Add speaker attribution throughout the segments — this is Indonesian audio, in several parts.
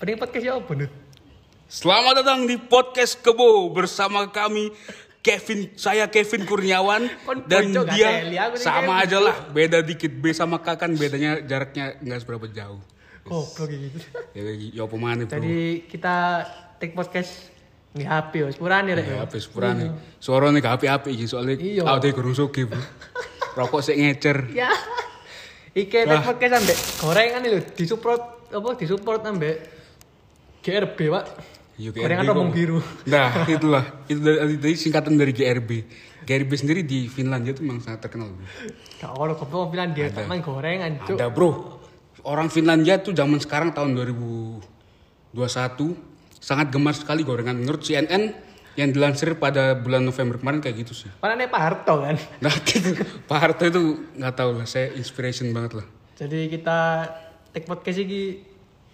Speaker 1: Ini podcast ya, apa nih?
Speaker 2: Selamat datang di podcast Kebo bersama kami Kevin, saya Kevin Kurniawan
Speaker 1: Kon
Speaker 2: dan
Speaker 1: bocok gak
Speaker 2: dia
Speaker 1: teli aku nih,
Speaker 2: sama
Speaker 1: Kevin.
Speaker 2: aja lah, beda dikit B sama K kan bedanya jaraknya nggak seberapa jauh.
Speaker 1: Goblok gitu.
Speaker 2: Ya ya apa mana bro?
Speaker 1: Jadi kita take podcast di HP wis purane rek.
Speaker 2: Ya habis purane. Suarane gak apik-apik iki soalnya
Speaker 1: Iya.
Speaker 2: audio gerusuk iki, Bro. Rokok sik ngecer.
Speaker 1: Ya. Iki take podcast ambek gorengan lho, disupport apa disupport ambek GRB, Pak.
Speaker 2: Iya, GRB
Speaker 1: Gorengan
Speaker 2: kok.
Speaker 1: rombong biru.
Speaker 2: Nah, itulah. Itu dari, dari singkatan dari GRB. GRB sendiri di Finlandia tuh memang sangat terkenal. Bro.
Speaker 1: Gak ono goblok bilang dia tak main gorengan, Cuk.
Speaker 2: Ada bro, orang Finlandia tuh zaman sekarang tahun 2021 sangat gemar sekali gorengan. Menurut CNN yang dilansir pada bulan November kemarin kayak gitu sih.
Speaker 1: Mana Pak Harto kan.
Speaker 2: Nah, gitu. Pak Harto itu nggak tahu lah, saya inspiration banget lah.
Speaker 1: Jadi kita take podcast iki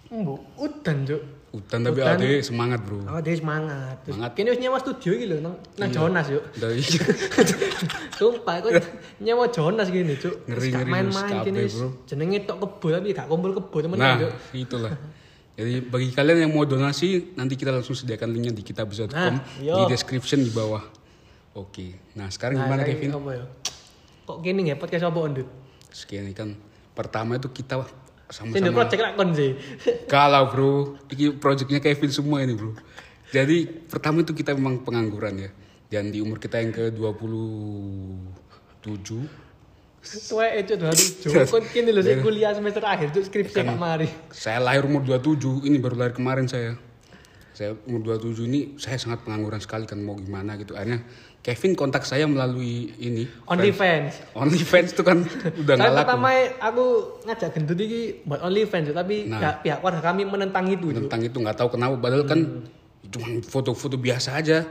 Speaker 1: mbu udan, Cuk.
Speaker 2: Hutan tapi
Speaker 1: Hutan.
Speaker 2: ADW semangat bro.
Speaker 1: Oh, dia semangat. Terus
Speaker 2: Semangat. Iya.
Speaker 1: kini wis nyewa studio iki lho nang nang Jonas, Cuk.
Speaker 2: Dari
Speaker 1: Sumpah, kok nyewa Jonas gini, cuk.
Speaker 2: Ngeri,
Speaker 1: Terus gak
Speaker 2: ngeri,
Speaker 1: Main-main
Speaker 2: wis
Speaker 1: gini,
Speaker 2: kabeh, bro.
Speaker 1: jenenge tok kebo tapi gak kumpul kebo temen
Speaker 2: nah
Speaker 1: cuk.
Speaker 2: itulah. Jadi bagi kalian yang mau donasi nanti kita langsung sediakan linknya di kitabisa.com
Speaker 1: Nah, iya.
Speaker 2: di description di bawah. Oke. Nah sekarang gimana
Speaker 1: kayak
Speaker 2: Kevin?
Speaker 1: Apa ya? Kok gini nggak podcast apa ondut?
Speaker 2: Sekian kan pertama itu kita
Speaker 1: Sini
Speaker 2: sama-sama
Speaker 1: project lah kon sih.
Speaker 2: Kalah bro, ini projectnya Kevin semua ini bro. Jadi pertama itu kita memang pengangguran ya. Dan di umur kita yang ke 27,
Speaker 1: Tuwe itu dua cuk. Kon kini lho
Speaker 2: Iya.
Speaker 1: sik kuliah semester akhir cuk skripsi gak mari.
Speaker 2: saya lahir umur 27, ini baru lahir kemarin saya. Saya umur 27 ini saya sangat pengangguran sekali kan mau gimana gitu. Akhirnya Kevin kontak saya melalui ini.
Speaker 1: Only fans.
Speaker 2: Only fans itu kan udah
Speaker 1: Saya
Speaker 2: nggak laku.
Speaker 1: pertama aku ngajak gendut iki buat only fans cuk, tapi
Speaker 2: Nah.
Speaker 1: gak, pihak keluarga kami menentang itu cuk.
Speaker 2: Tentang itu nggak tahu kenapa padahal kan cuma foto-foto biasa aja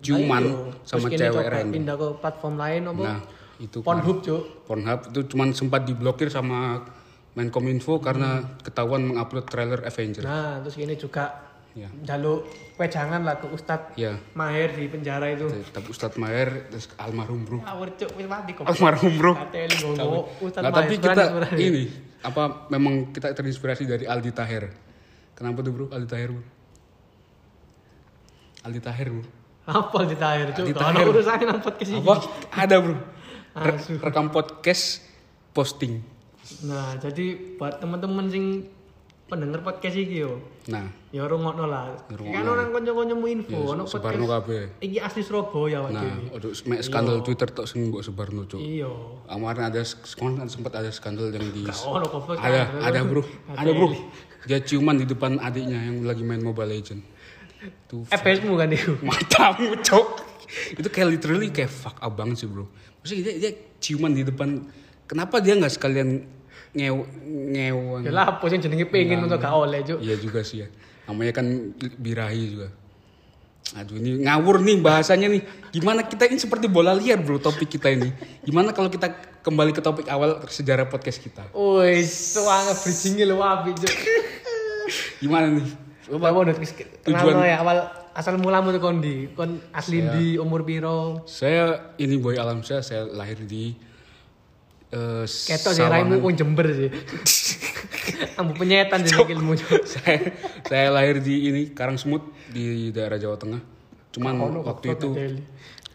Speaker 2: ciuman
Speaker 1: Ayo, Nah, iya.
Speaker 2: sama
Speaker 1: terus kini
Speaker 2: cewek
Speaker 1: coba
Speaker 2: random.
Speaker 1: Pindah ke platform lain apa?
Speaker 2: Nah, itu
Speaker 1: Pornhub cuk.
Speaker 2: Pornhub itu cuman sempat diblokir sama Menkominfo karena ketahuan mengupload trailer Avenger.
Speaker 1: Nah, terus gini juga
Speaker 2: Ya.
Speaker 1: jaluk wejangan lah ke Ustadz
Speaker 2: Ya.
Speaker 1: Maher di penjara itu.
Speaker 2: Tapi Ustadz Maher terus almarhum Bro.
Speaker 1: Ngawur cuk wis mati kok.
Speaker 2: Almarhum Bro.
Speaker 1: Kateli ngomong Oh, Ustadz
Speaker 2: Nah,
Speaker 1: Maher.
Speaker 2: tapi
Speaker 1: seberani,
Speaker 2: kita
Speaker 1: seberani.
Speaker 2: ini apa memang kita terinspirasi dari Aldi Taher. Kenapa tuh Bro Aldi Taher? Bro? Aldi Taher Bro.
Speaker 1: apa di Tahir cuk?
Speaker 2: Di
Speaker 1: Gak ada
Speaker 2: Tahir.
Speaker 1: urusannya nang podcast ini.
Speaker 2: Apa ada Bro? Re-
Speaker 1: Asu.
Speaker 2: rekam podcast posting.
Speaker 1: Nah, jadi buat teman-teman sing pendengar podcast iki yo.
Speaker 2: Nah,
Speaker 1: Ya rungokno lah.
Speaker 2: Rungokno. Iya,
Speaker 1: Kan orang kanca-kancamu info ono
Speaker 2: sebarno
Speaker 1: podcast.
Speaker 2: kabeh.
Speaker 1: Iki asli Surabaya wae
Speaker 2: Nah,
Speaker 1: dhewe.
Speaker 2: aduh, mek skandal Twitter tok sing mbok sebarno, Cuk.
Speaker 1: Iya.
Speaker 2: Kemarin ada kemarin kan sempat ada skandal yang di
Speaker 1: Gak ono kok.
Speaker 2: ada ada bro ada bro dia ciuman di depan adiknya yang lagi main Mobile Legend tuh
Speaker 1: FPSmu kan itu.
Speaker 2: matamu cok itu kayak literally kayak fuck up banget sih bro maksudnya dia, dia ciuman di depan kenapa dia nggak sekalian ngew ngewan
Speaker 1: Ya lah, apa sih jenenge pengen untuk gak oleh cuk.
Speaker 2: iya juga sih ya namanya kan birahi juga aduh ini ngawur nih bahasanya nih gimana kita ini seperti bola liar bro topik kita ini gimana kalau kita kembali ke topik awal sejarah podcast kita
Speaker 1: Woi, soalnya bridgingnya lu apik cuk.
Speaker 2: gimana nih
Speaker 1: Coba mau tujuan Iya. ya awal asal mula tuh kondi, kon asli di umur piro?
Speaker 2: Saya ini boy alam saya, saya lahir di eh,
Speaker 1: Ketok sih
Speaker 2: Sawangan.
Speaker 1: raimu pun jember sih. Ambu penyetan sih ilmu.
Speaker 2: saya, saya lahir di ini Karangsemut di daerah Jawa Tengah. Cuman waktu itu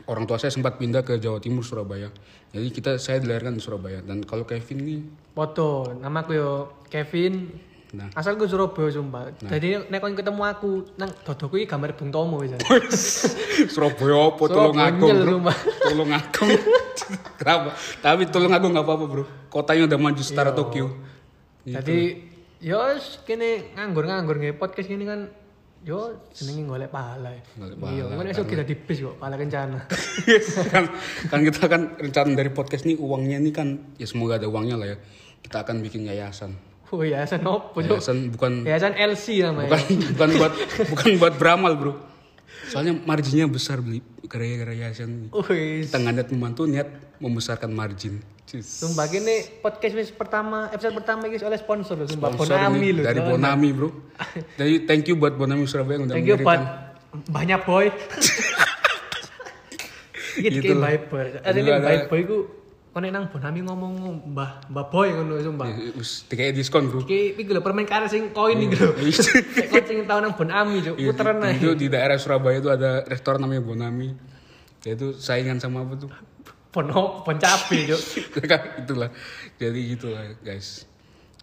Speaker 2: orang tua saya sempat pindah ke Jawa Timur Surabaya. Jadi kita saya dilahirkan di Surabaya dan kalau Kevin nih
Speaker 1: Foto, nama aku yo Kevin.
Speaker 2: Nah.
Speaker 1: Asal gue Surabaya sumpah. Jadi nek kon ketemu aku nang dodoku iki gambar Bung Tomo wis.
Speaker 2: Surabaya apa
Speaker 1: Surabaya
Speaker 2: tolong aku
Speaker 1: nyel,
Speaker 2: bro.
Speaker 1: sumpah.
Speaker 2: Tolong aku. Kenapa? Tapi tolong aku nggak apa-apa bro. Kotanya udah maju setara
Speaker 1: Iya.
Speaker 2: Tokyo. Iya,
Speaker 1: Jadi yo wis kene nganggur-nganggur nge podcast gini kan yo jenenge golek pahala. ya.
Speaker 2: Golek
Speaker 1: Iya, kan esok kita dibis kok pahala kencana.
Speaker 2: kan, kan kita kan rencana dari podcast nih uangnya nih kan ya semoga ada uangnya lah ya kita akan bikin yayasan
Speaker 1: Oh yayasan opo cuk?
Speaker 2: yayasan bukan
Speaker 1: Yayasan LC namanya.
Speaker 2: bukan bukan buat bukan buat beramal bro soalnya marginnya besar beli gara-gara yayasan ini.
Speaker 1: Wih,
Speaker 2: kita nggak niat membantu niat membesarkan margin Cus.
Speaker 1: sumpah ini podcast wis pertama episode pertama guys oleh sponsor loh sumpah
Speaker 2: Sponsor
Speaker 1: Bonami
Speaker 2: nih,
Speaker 1: loh.
Speaker 2: dari
Speaker 1: Don.
Speaker 2: Bonami bro jadi thank you buat Bonami Surabaya yang udah
Speaker 1: Thank you buat
Speaker 2: mengirimkan.
Speaker 1: banyak boy. Iki
Speaker 2: Gitu
Speaker 1: dikit
Speaker 2: lah.
Speaker 1: Viber. Ada
Speaker 2: Dulu
Speaker 1: ini
Speaker 2: ada-
Speaker 1: Viber ku konek nang Bonami ngomong mbah mbah boy ngono
Speaker 2: Iya.
Speaker 1: sumpah.
Speaker 2: Wis dikai Eh, diskon, Bro.
Speaker 1: Iki iki lho permen karet sing koin iki lho. Sik kucing tau nang Bonami cuk,
Speaker 2: Iya,
Speaker 1: puteran
Speaker 2: di-
Speaker 1: ae.
Speaker 2: Itu di daerah Surabaya itu ada restoran namanya Bonami. Ya itu saingan sama apa tuh?
Speaker 1: Bon bon cabe cuk.
Speaker 2: Iya kan? itulah. Jadi gitulah, guys.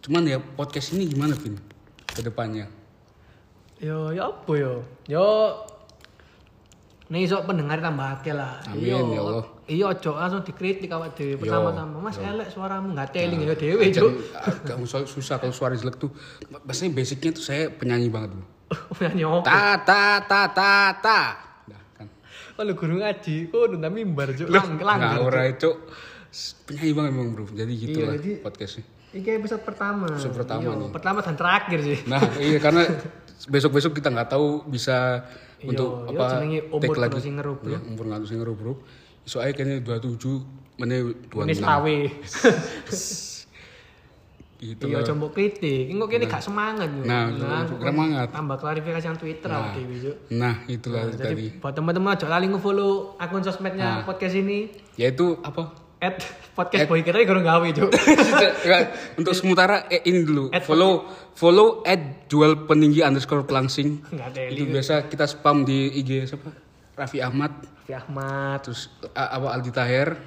Speaker 2: Cuman ya podcast ini gimana, Vin? Kedepannya.
Speaker 1: Yo yo apa yo? Yo Nih sok pendengar tambah akeh lah.
Speaker 2: Amin, ya Allah.
Speaker 1: Iya ojo langsung dikritik awak dhewe
Speaker 2: Yo, Nah,
Speaker 1: pertama-tama. Mas elek suaramu enggak teling ya dhewe cuk.
Speaker 2: Gak ah, usah susah kalau suara jelek tuh. Biasanya basicnya tuh saya penyanyi banget, Bro.
Speaker 1: Nyanyi apa?
Speaker 2: Ta ta ta ta ta. Nah, kan.
Speaker 1: Kalau Oh, guru ngaji, kok udah mimbar cuk. Lang
Speaker 2: Nah,
Speaker 1: langgar.
Speaker 2: ora itu penyanyi banget memang, Bro. Jadi gitulah
Speaker 1: jadi-
Speaker 2: podcastnya.
Speaker 1: Iki episode pertama.
Speaker 2: Episode pertama
Speaker 1: Iya,
Speaker 2: nih.
Speaker 1: Pertama dan terakhir sih.
Speaker 2: Nah, iya karena besok-besok kita nggak tahu bisa untuk
Speaker 1: iya,
Speaker 2: apa
Speaker 1: jenenge umur kudu sing ngerup, bro.
Speaker 2: Iya, umur kudu sing ngerup, Bro. Iso ae kene 27 menit
Speaker 1: Ini
Speaker 2: 26.
Speaker 1: sawe.
Speaker 2: Gitu
Speaker 1: Iya,
Speaker 2: lah.
Speaker 1: coba kritik. Engko kene gak semangat yo.
Speaker 2: Nah,
Speaker 1: engko
Speaker 2: gak semangat.
Speaker 1: Tambah klarifikasi yang Twitter nah.
Speaker 2: Nah.
Speaker 1: Dewi Cuk.
Speaker 2: Nah, itulah tadi. Nah.
Speaker 1: Jadi buat teman-teman aja lali nge-follow akun sosmednya podcast ini
Speaker 2: Yaitu apa?
Speaker 1: at podcast boy kita gorong gawe Cuk.
Speaker 2: Nggak, untuk sementara eh, ini dulu follow follow at jual peninggi underscore pelangsing
Speaker 1: Enggak teli.
Speaker 2: itu biasa kita spam di IG siapa Raffi Ahmad
Speaker 1: Raffi Ahmad.
Speaker 2: terus A- apa Aldi Taher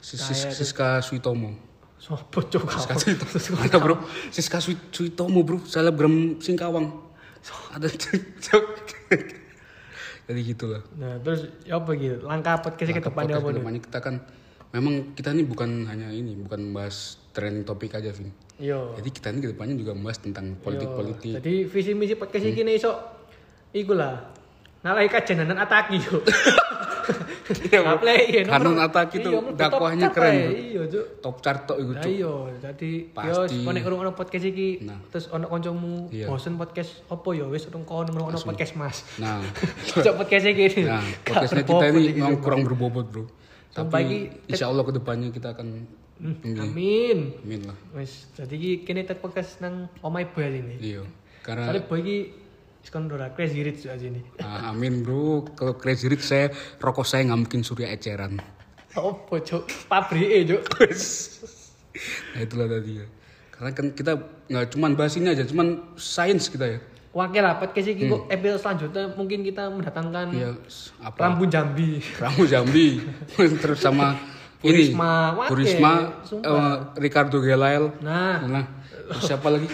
Speaker 2: Sis- Sis- Siska Suitomo
Speaker 1: Sopo Cuk?
Speaker 2: Siska Suitomo. Ada bro. Siska Sui- Suitomo bro. Selebgram Singkawang. Ada Jadi gitulah.
Speaker 1: Nah, terus ya apa gitu? Langkah podcast ke depannya
Speaker 2: Podcast
Speaker 1: apa nih?
Speaker 2: kedepannya kita kan memang kita ini bukan hanya ini, bukan membahas trending topik aja, Vin.
Speaker 1: Yo.
Speaker 2: Jadi kita ini kedepannya juga membahas tentang politik-politik. Hmm.
Speaker 1: Jadi visi misi podcast iki nih iso iku lah. Nalahi kajenanan ataki yo.
Speaker 2: Iya,
Speaker 1: Ngaplay
Speaker 2: Kanon Ya, Ataki tuh dakwahnya keren, Cuk.
Speaker 1: Iya, Cuk.
Speaker 2: Top chart tok iku,
Speaker 1: Lah
Speaker 2: Cuk.
Speaker 1: iya, jadi yo
Speaker 2: Pasti.
Speaker 1: konek ngrungokno podcast iki
Speaker 2: Nah.
Speaker 1: terus ono kancamu
Speaker 2: Iya.
Speaker 1: bosen podcast opo yo wis rung kon ngrungokno podcast Mas.
Speaker 2: Nah,
Speaker 1: Cok podcast iki.
Speaker 2: nah
Speaker 1: Gak
Speaker 2: podcastnya kita
Speaker 1: berbobot
Speaker 2: ini
Speaker 1: iki.
Speaker 2: memang kurang berbobot, Bro.
Speaker 1: Sumpah
Speaker 2: Tapi
Speaker 1: ini-
Speaker 2: insya Allah kedepannya kita akan memilih.
Speaker 1: Hmm, Amin.
Speaker 2: Amin lah.
Speaker 1: Wis, jadi iki kene tet podcast nang Omai Boy ini.
Speaker 2: Iya. Karena
Speaker 1: Soalnya boy iki skon ora crazy rich aja ini.
Speaker 2: Ah, amin bro, kalau Crazy Rich saya rokok saya nggak mungkin surya eceran.
Speaker 1: Opo cuk, pabrike cuk.
Speaker 2: Nah itulah tadi ya. Karena kan kita nggak cuman bahas ini aja, cuman sains kita ya.
Speaker 1: Wakil lah podcast iki kok episode selanjutnya mungkin kita mendatangkan
Speaker 2: Hmm. Iya, s- apa?
Speaker 1: Rambu Jambi.
Speaker 2: Ramu Jambi, terus sama ini,
Speaker 1: Risma Wake,
Speaker 2: Burisma,
Speaker 1: sumpah.
Speaker 2: Ricardo Gelael,
Speaker 1: Nah,
Speaker 2: nah, terus siapa lagi?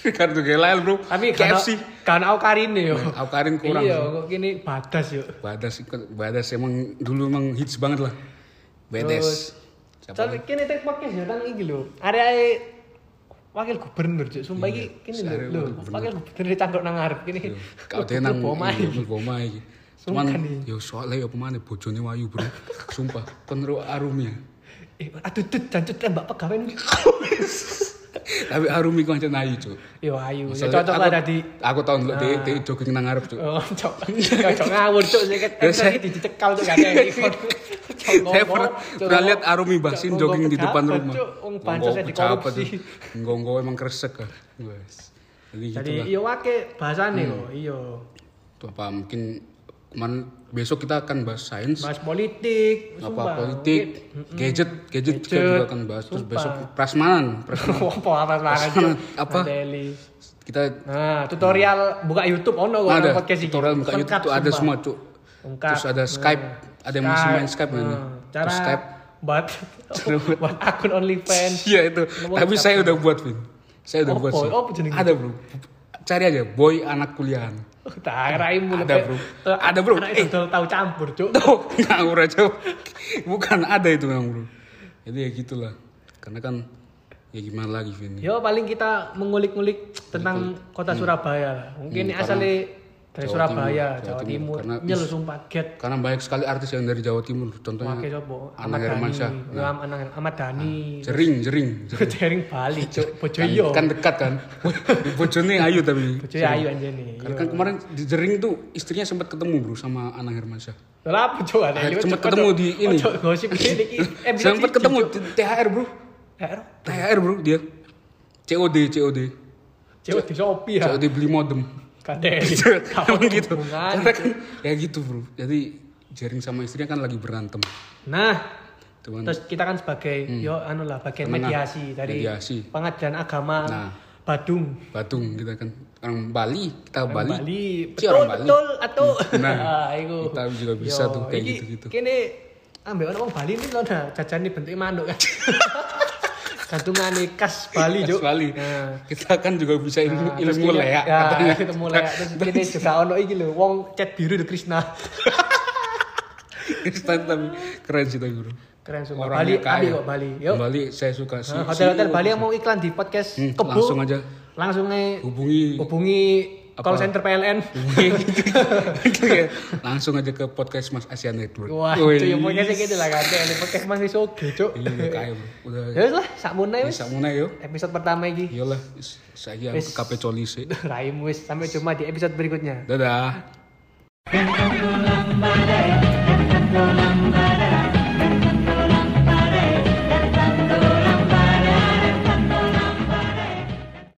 Speaker 2: Ricardo Gelael bro,
Speaker 1: tapi karena
Speaker 2: KFC.
Speaker 1: karena aku karine yo.
Speaker 2: Nah. Aukarin kurang.
Speaker 1: Iya, kok kini badas yo.
Speaker 2: Badas, badas emang dulu emang hits banget lah. Bedes. Siapa
Speaker 1: Soalnya kini tek podcast yo nang iki lho. Area wakil gubernur cuk. Sumpah iki kini
Speaker 2: area
Speaker 1: lho.
Speaker 2: Iya, wakil gubernur. Iya.
Speaker 1: Wakil gubernur cangkruk nang ngarep kini.
Speaker 2: Kau teh nang
Speaker 1: Boma
Speaker 2: iya,
Speaker 1: iki.
Speaker 2: mlebu omah iki.
Speaker 1: Sungkan
Speaker 2: Cuman
Speaker 1: iki.
Speaker 2: yo soalnya yo pemane bojone wayu, Bro. Sumpah, ya. kon ro arumnya.
Speaker 1: Eh, aduh tut jancuk tembak pegawai. ini.
Speaker 2: Tapi arum iku ancen ayu, Cuk.
Speaker 1: Yo ayu, ya
Speaker 2: Soalnya
Speaker 1: cocok lah Ah.
Speaker 2: aku-
Speaker 1: tadi.
Speaker 2: Aku tau ndelok dhek dhek jogging nang ngarep, Cuk.
Speaker 1: Oh, cok, cok ngawur cok, saya kan
Speaker 2: Ya, saya-
Speaker 1: episode ini dicekal cok gak ada yang ikut. Cok,
Speaker 2: Saya
Speaker 1: ngomong,
Speaker 2: pernah
Speaker 1: cok,
Speaker 2: pernah
Speaker 1: ngomong.
Speaker 2: lihat Ah, Arumi Basin
Speaker 1: ngomong
Speaker 2: jogging di
Speaker 1: pejabat,
Speaker 2: depan rumah.
Speaker 1: Cok, Wong pancasnya dikorupsi.
Speaker 2: Ngonggo emang kresek ah. Wes. Jadi gitu
Speaker 1: Jadi
Speaker 2: lah.
Speaker 1: iya wake bahasane
Speaker 2: Hmm.
Speaker 1: kok, iya.
Speaker 2: Tuh, apa mungkin kemarin besok kita akan bahas sains
Speaker 1: Bahas politik, Gitu.
Speaker 2: apa politik, gadget, gadget, kita
Speaker 1: Gadget,
Speaker 2: juga akan bahas. Terus
Speaker 1: sumpah.
Speaker 2: besok prasmanan, pras-
Speaker 1: Apa apa banget cok.
Speaker 2: Apa?
Speaker 1: Nadeli.
Speaker 2: kita
Speaker 1: Nah, tutorial buka YouTube ono kok
Speaker 2: ada
Speaker 1: ono podcast iki.
Speaker 2: tutorial buka
Speaker 1: Lengkap,
Speaker 2: YouTube tuh ada
Speaker 1: sumpah.
Speaker 2: semua cuk
Speaker 1: Lengkap.
Speaker 2: terus ada Skype ada yang masih main Skype
Speaker 1: nah,
Speaker 2: kan
Speaker 1: Cara
Speaker 2: terus Skype
Speaker 1: buat buat akun OnlyFans.
Speaker 2: iya itu
Speaker 1: Nomor
Speaker 2: tapi
Speaker 1: Skype.
Speaker 2: saya udah buat Vin saya udah
Speaker 1: Apa?
Speaker 2: buat sih
Speaker 1: Apa jenengnya?
Speaker 2: ada bro cari aja boy anak kuliahan
Speaker 1: Oh, Tak raimu
Speaker 2: Ada,
Speaker 1: lebih-
Speaker 2: bro.
Speaker 1: Eh,
Speaker 2: Ada, bro.
Speaker 1: Anak
Speaker 2: Eh.
Speaker 1: itu tahu campur, Cuk.
Speaker 2: tuh ngawur aja bukan ada itu memang bro jadi ya gitulah karena kan ya gimana lagi Vin
Speaker 1: Yo paling kita mengulik-ngulik tentang kota Surabaya lah. Mungkin
Speaker 2: Hmm, karena
Speaker 1: asalnya dari
Speaker 2: Jawa
Speaker 1: Surabaya,
Speaker 2: Timur,
Speaker 1: Jawa
Speaker 2: Jawa Timur.
Speaker 1: Timur.
Speaker 2: Karena
Speaker 1: Nyel sumpah get.
Speaker 2: karena banyak sekali artis yang dari Jawa Timur contohnya
Speaker 1: Pakai sopo?
Speaker 2: Ahmad
Speaker 1: Ahmad Dhani.
Speaker 2: Hermansyah. Nah,
Speaker 1: Yo, Am-
Speaker 2: Ah.
Speaker 1: Anang- Ahmad Dhani.
Speaker 2: jering jering
Speaker 1: Jering Bali, Cuk. Bojo
Speaker 2: kan,
Speaker 1: yo.
Speaker 2: kan dekat kan bojone ayu tapi
Speaker 1: Bojo ayu anjene.
Speaker 2: Karena kan kemarin di Jering tuh istrinya sempat ketemu bro sama Anang Hermansyah.
Speaker 1: Lah apa Cuk? Ada
Speaker 2: Akhirnya
Speaker 1: yang
Speaker 2: sempat
Speaker 1: Cuk,
Speaker 2: Ah, ketemu
Speaker 1: Cuk.
Speaker 2: di ini.
Speaker 1: Ojo Oh, gosip ini iki. Eh bisa
Speaker 2: Sempat
Speaker 1: sih,
Speaker 2: ketemu
Speaker 1: Cuk.
Speaker 2: di THR bro.
Speaker 1: Eh, Ro,
Speaker 2: THR bro dia. COD COD.
Speaker 1: Cuk di Shopee ya.
Speaker 2: COD beli modem.
Speaker 1: Kadeli.
Speaker 2: Emang gitu. Karena kan ya gitu bro. Jadi Jering sama istrinya kan lagi berantem.
Speaker 1: Nah,
Speaker 2: Cuman-
Speaker 1: Terus kita kan sebagai yo anu lah bagian
Speaker 2: Menengah.
Speaker 1: mediasi dari
Speaker 2: Hmm. Mediasi.
Speaker 1: pengadilan agama
Speaker 2: Nah.
Speaker 1: Badung.
Speaker 2: Batung kita kan orang Bali kita
Speaker 1: Orang
Speaker 2: Bali,
Speaker 1: Bali.
Speaker 2: Si
Speaker 1: Betul,
Speaker 2: orang Bali.
Speaker 1: betul atau
Speaker 2: Nah,
Speaker 1: iku.
Speaker 2: kita juga bisa tuh kayak
Speaker 1: iki-
Speaker 2: gitu-gitu.
Speaker 1: Kene ambek orang wong Bali ini loh nah, jajan ini bentuknya manuk kan. Gantungan nih khas Bali,
Speaker 2: Khas
Speaker 1: Juk.
Speaker 2: Bali.
Speaker 1: Nah.
Speaker 2: kita kan juga bisa ilmu,
Speaker 1: Nah, terus
Speaker 2: ilmu
Speaker 1: kini-
Speaker 2: leak
Speaker 1: Ya,
Speaker 2: katanya.
Speaker 1: ilmu leak. Terus kene juga ono iki lho, wong cat biru di Krishna.
Speaker 2: Instan tapi keren sih tapi bro.
Speaker 1: Keren semua. Bali,
Speaker 2: Orangnya
Speaker 1: ambil
Speaker 2: kaya.
Speaker 1: kok Bali. Yuk.
Speaker 2: Bali saya suka sih.
Speaker 1: Nah, Hotel-hotel Bali yang mau iklan di podcast
Speaker 2: Hmm,
Speaker 1: Kebo,
Speaker 2: langsung aja.
Speaker 1: Langsung aja
Speaker 2: hubungi
Speaker 1: hubungi call center PLN.
Speaker 2: Gitu ya. langsung aja ke podcast Mas Asia Network.
Speaker 1: Wah,
Speaker 2: Wih.
Speaker 1: cuy, pokoknya sih gitu lah kan. Kayak podcast masih soge, cuk.
Speaker 2: Iya, udah kaya bro. Udah.
Speaker 1: Ya wis lah, sakmono ae wis.
Speaker 2: Bisa Iya. mulai yo.
Speaker 1: Episode pertama iki.
Speaker 2: Iyalah, is- saya
Speaker 1: Wis.
Speaker 2: ke KP Coli sih.
Speaker 1: Raimu wis, sampai jumpa di episode berikutnya.
Speaker 2: Dadah.
Speaker 3: Bye.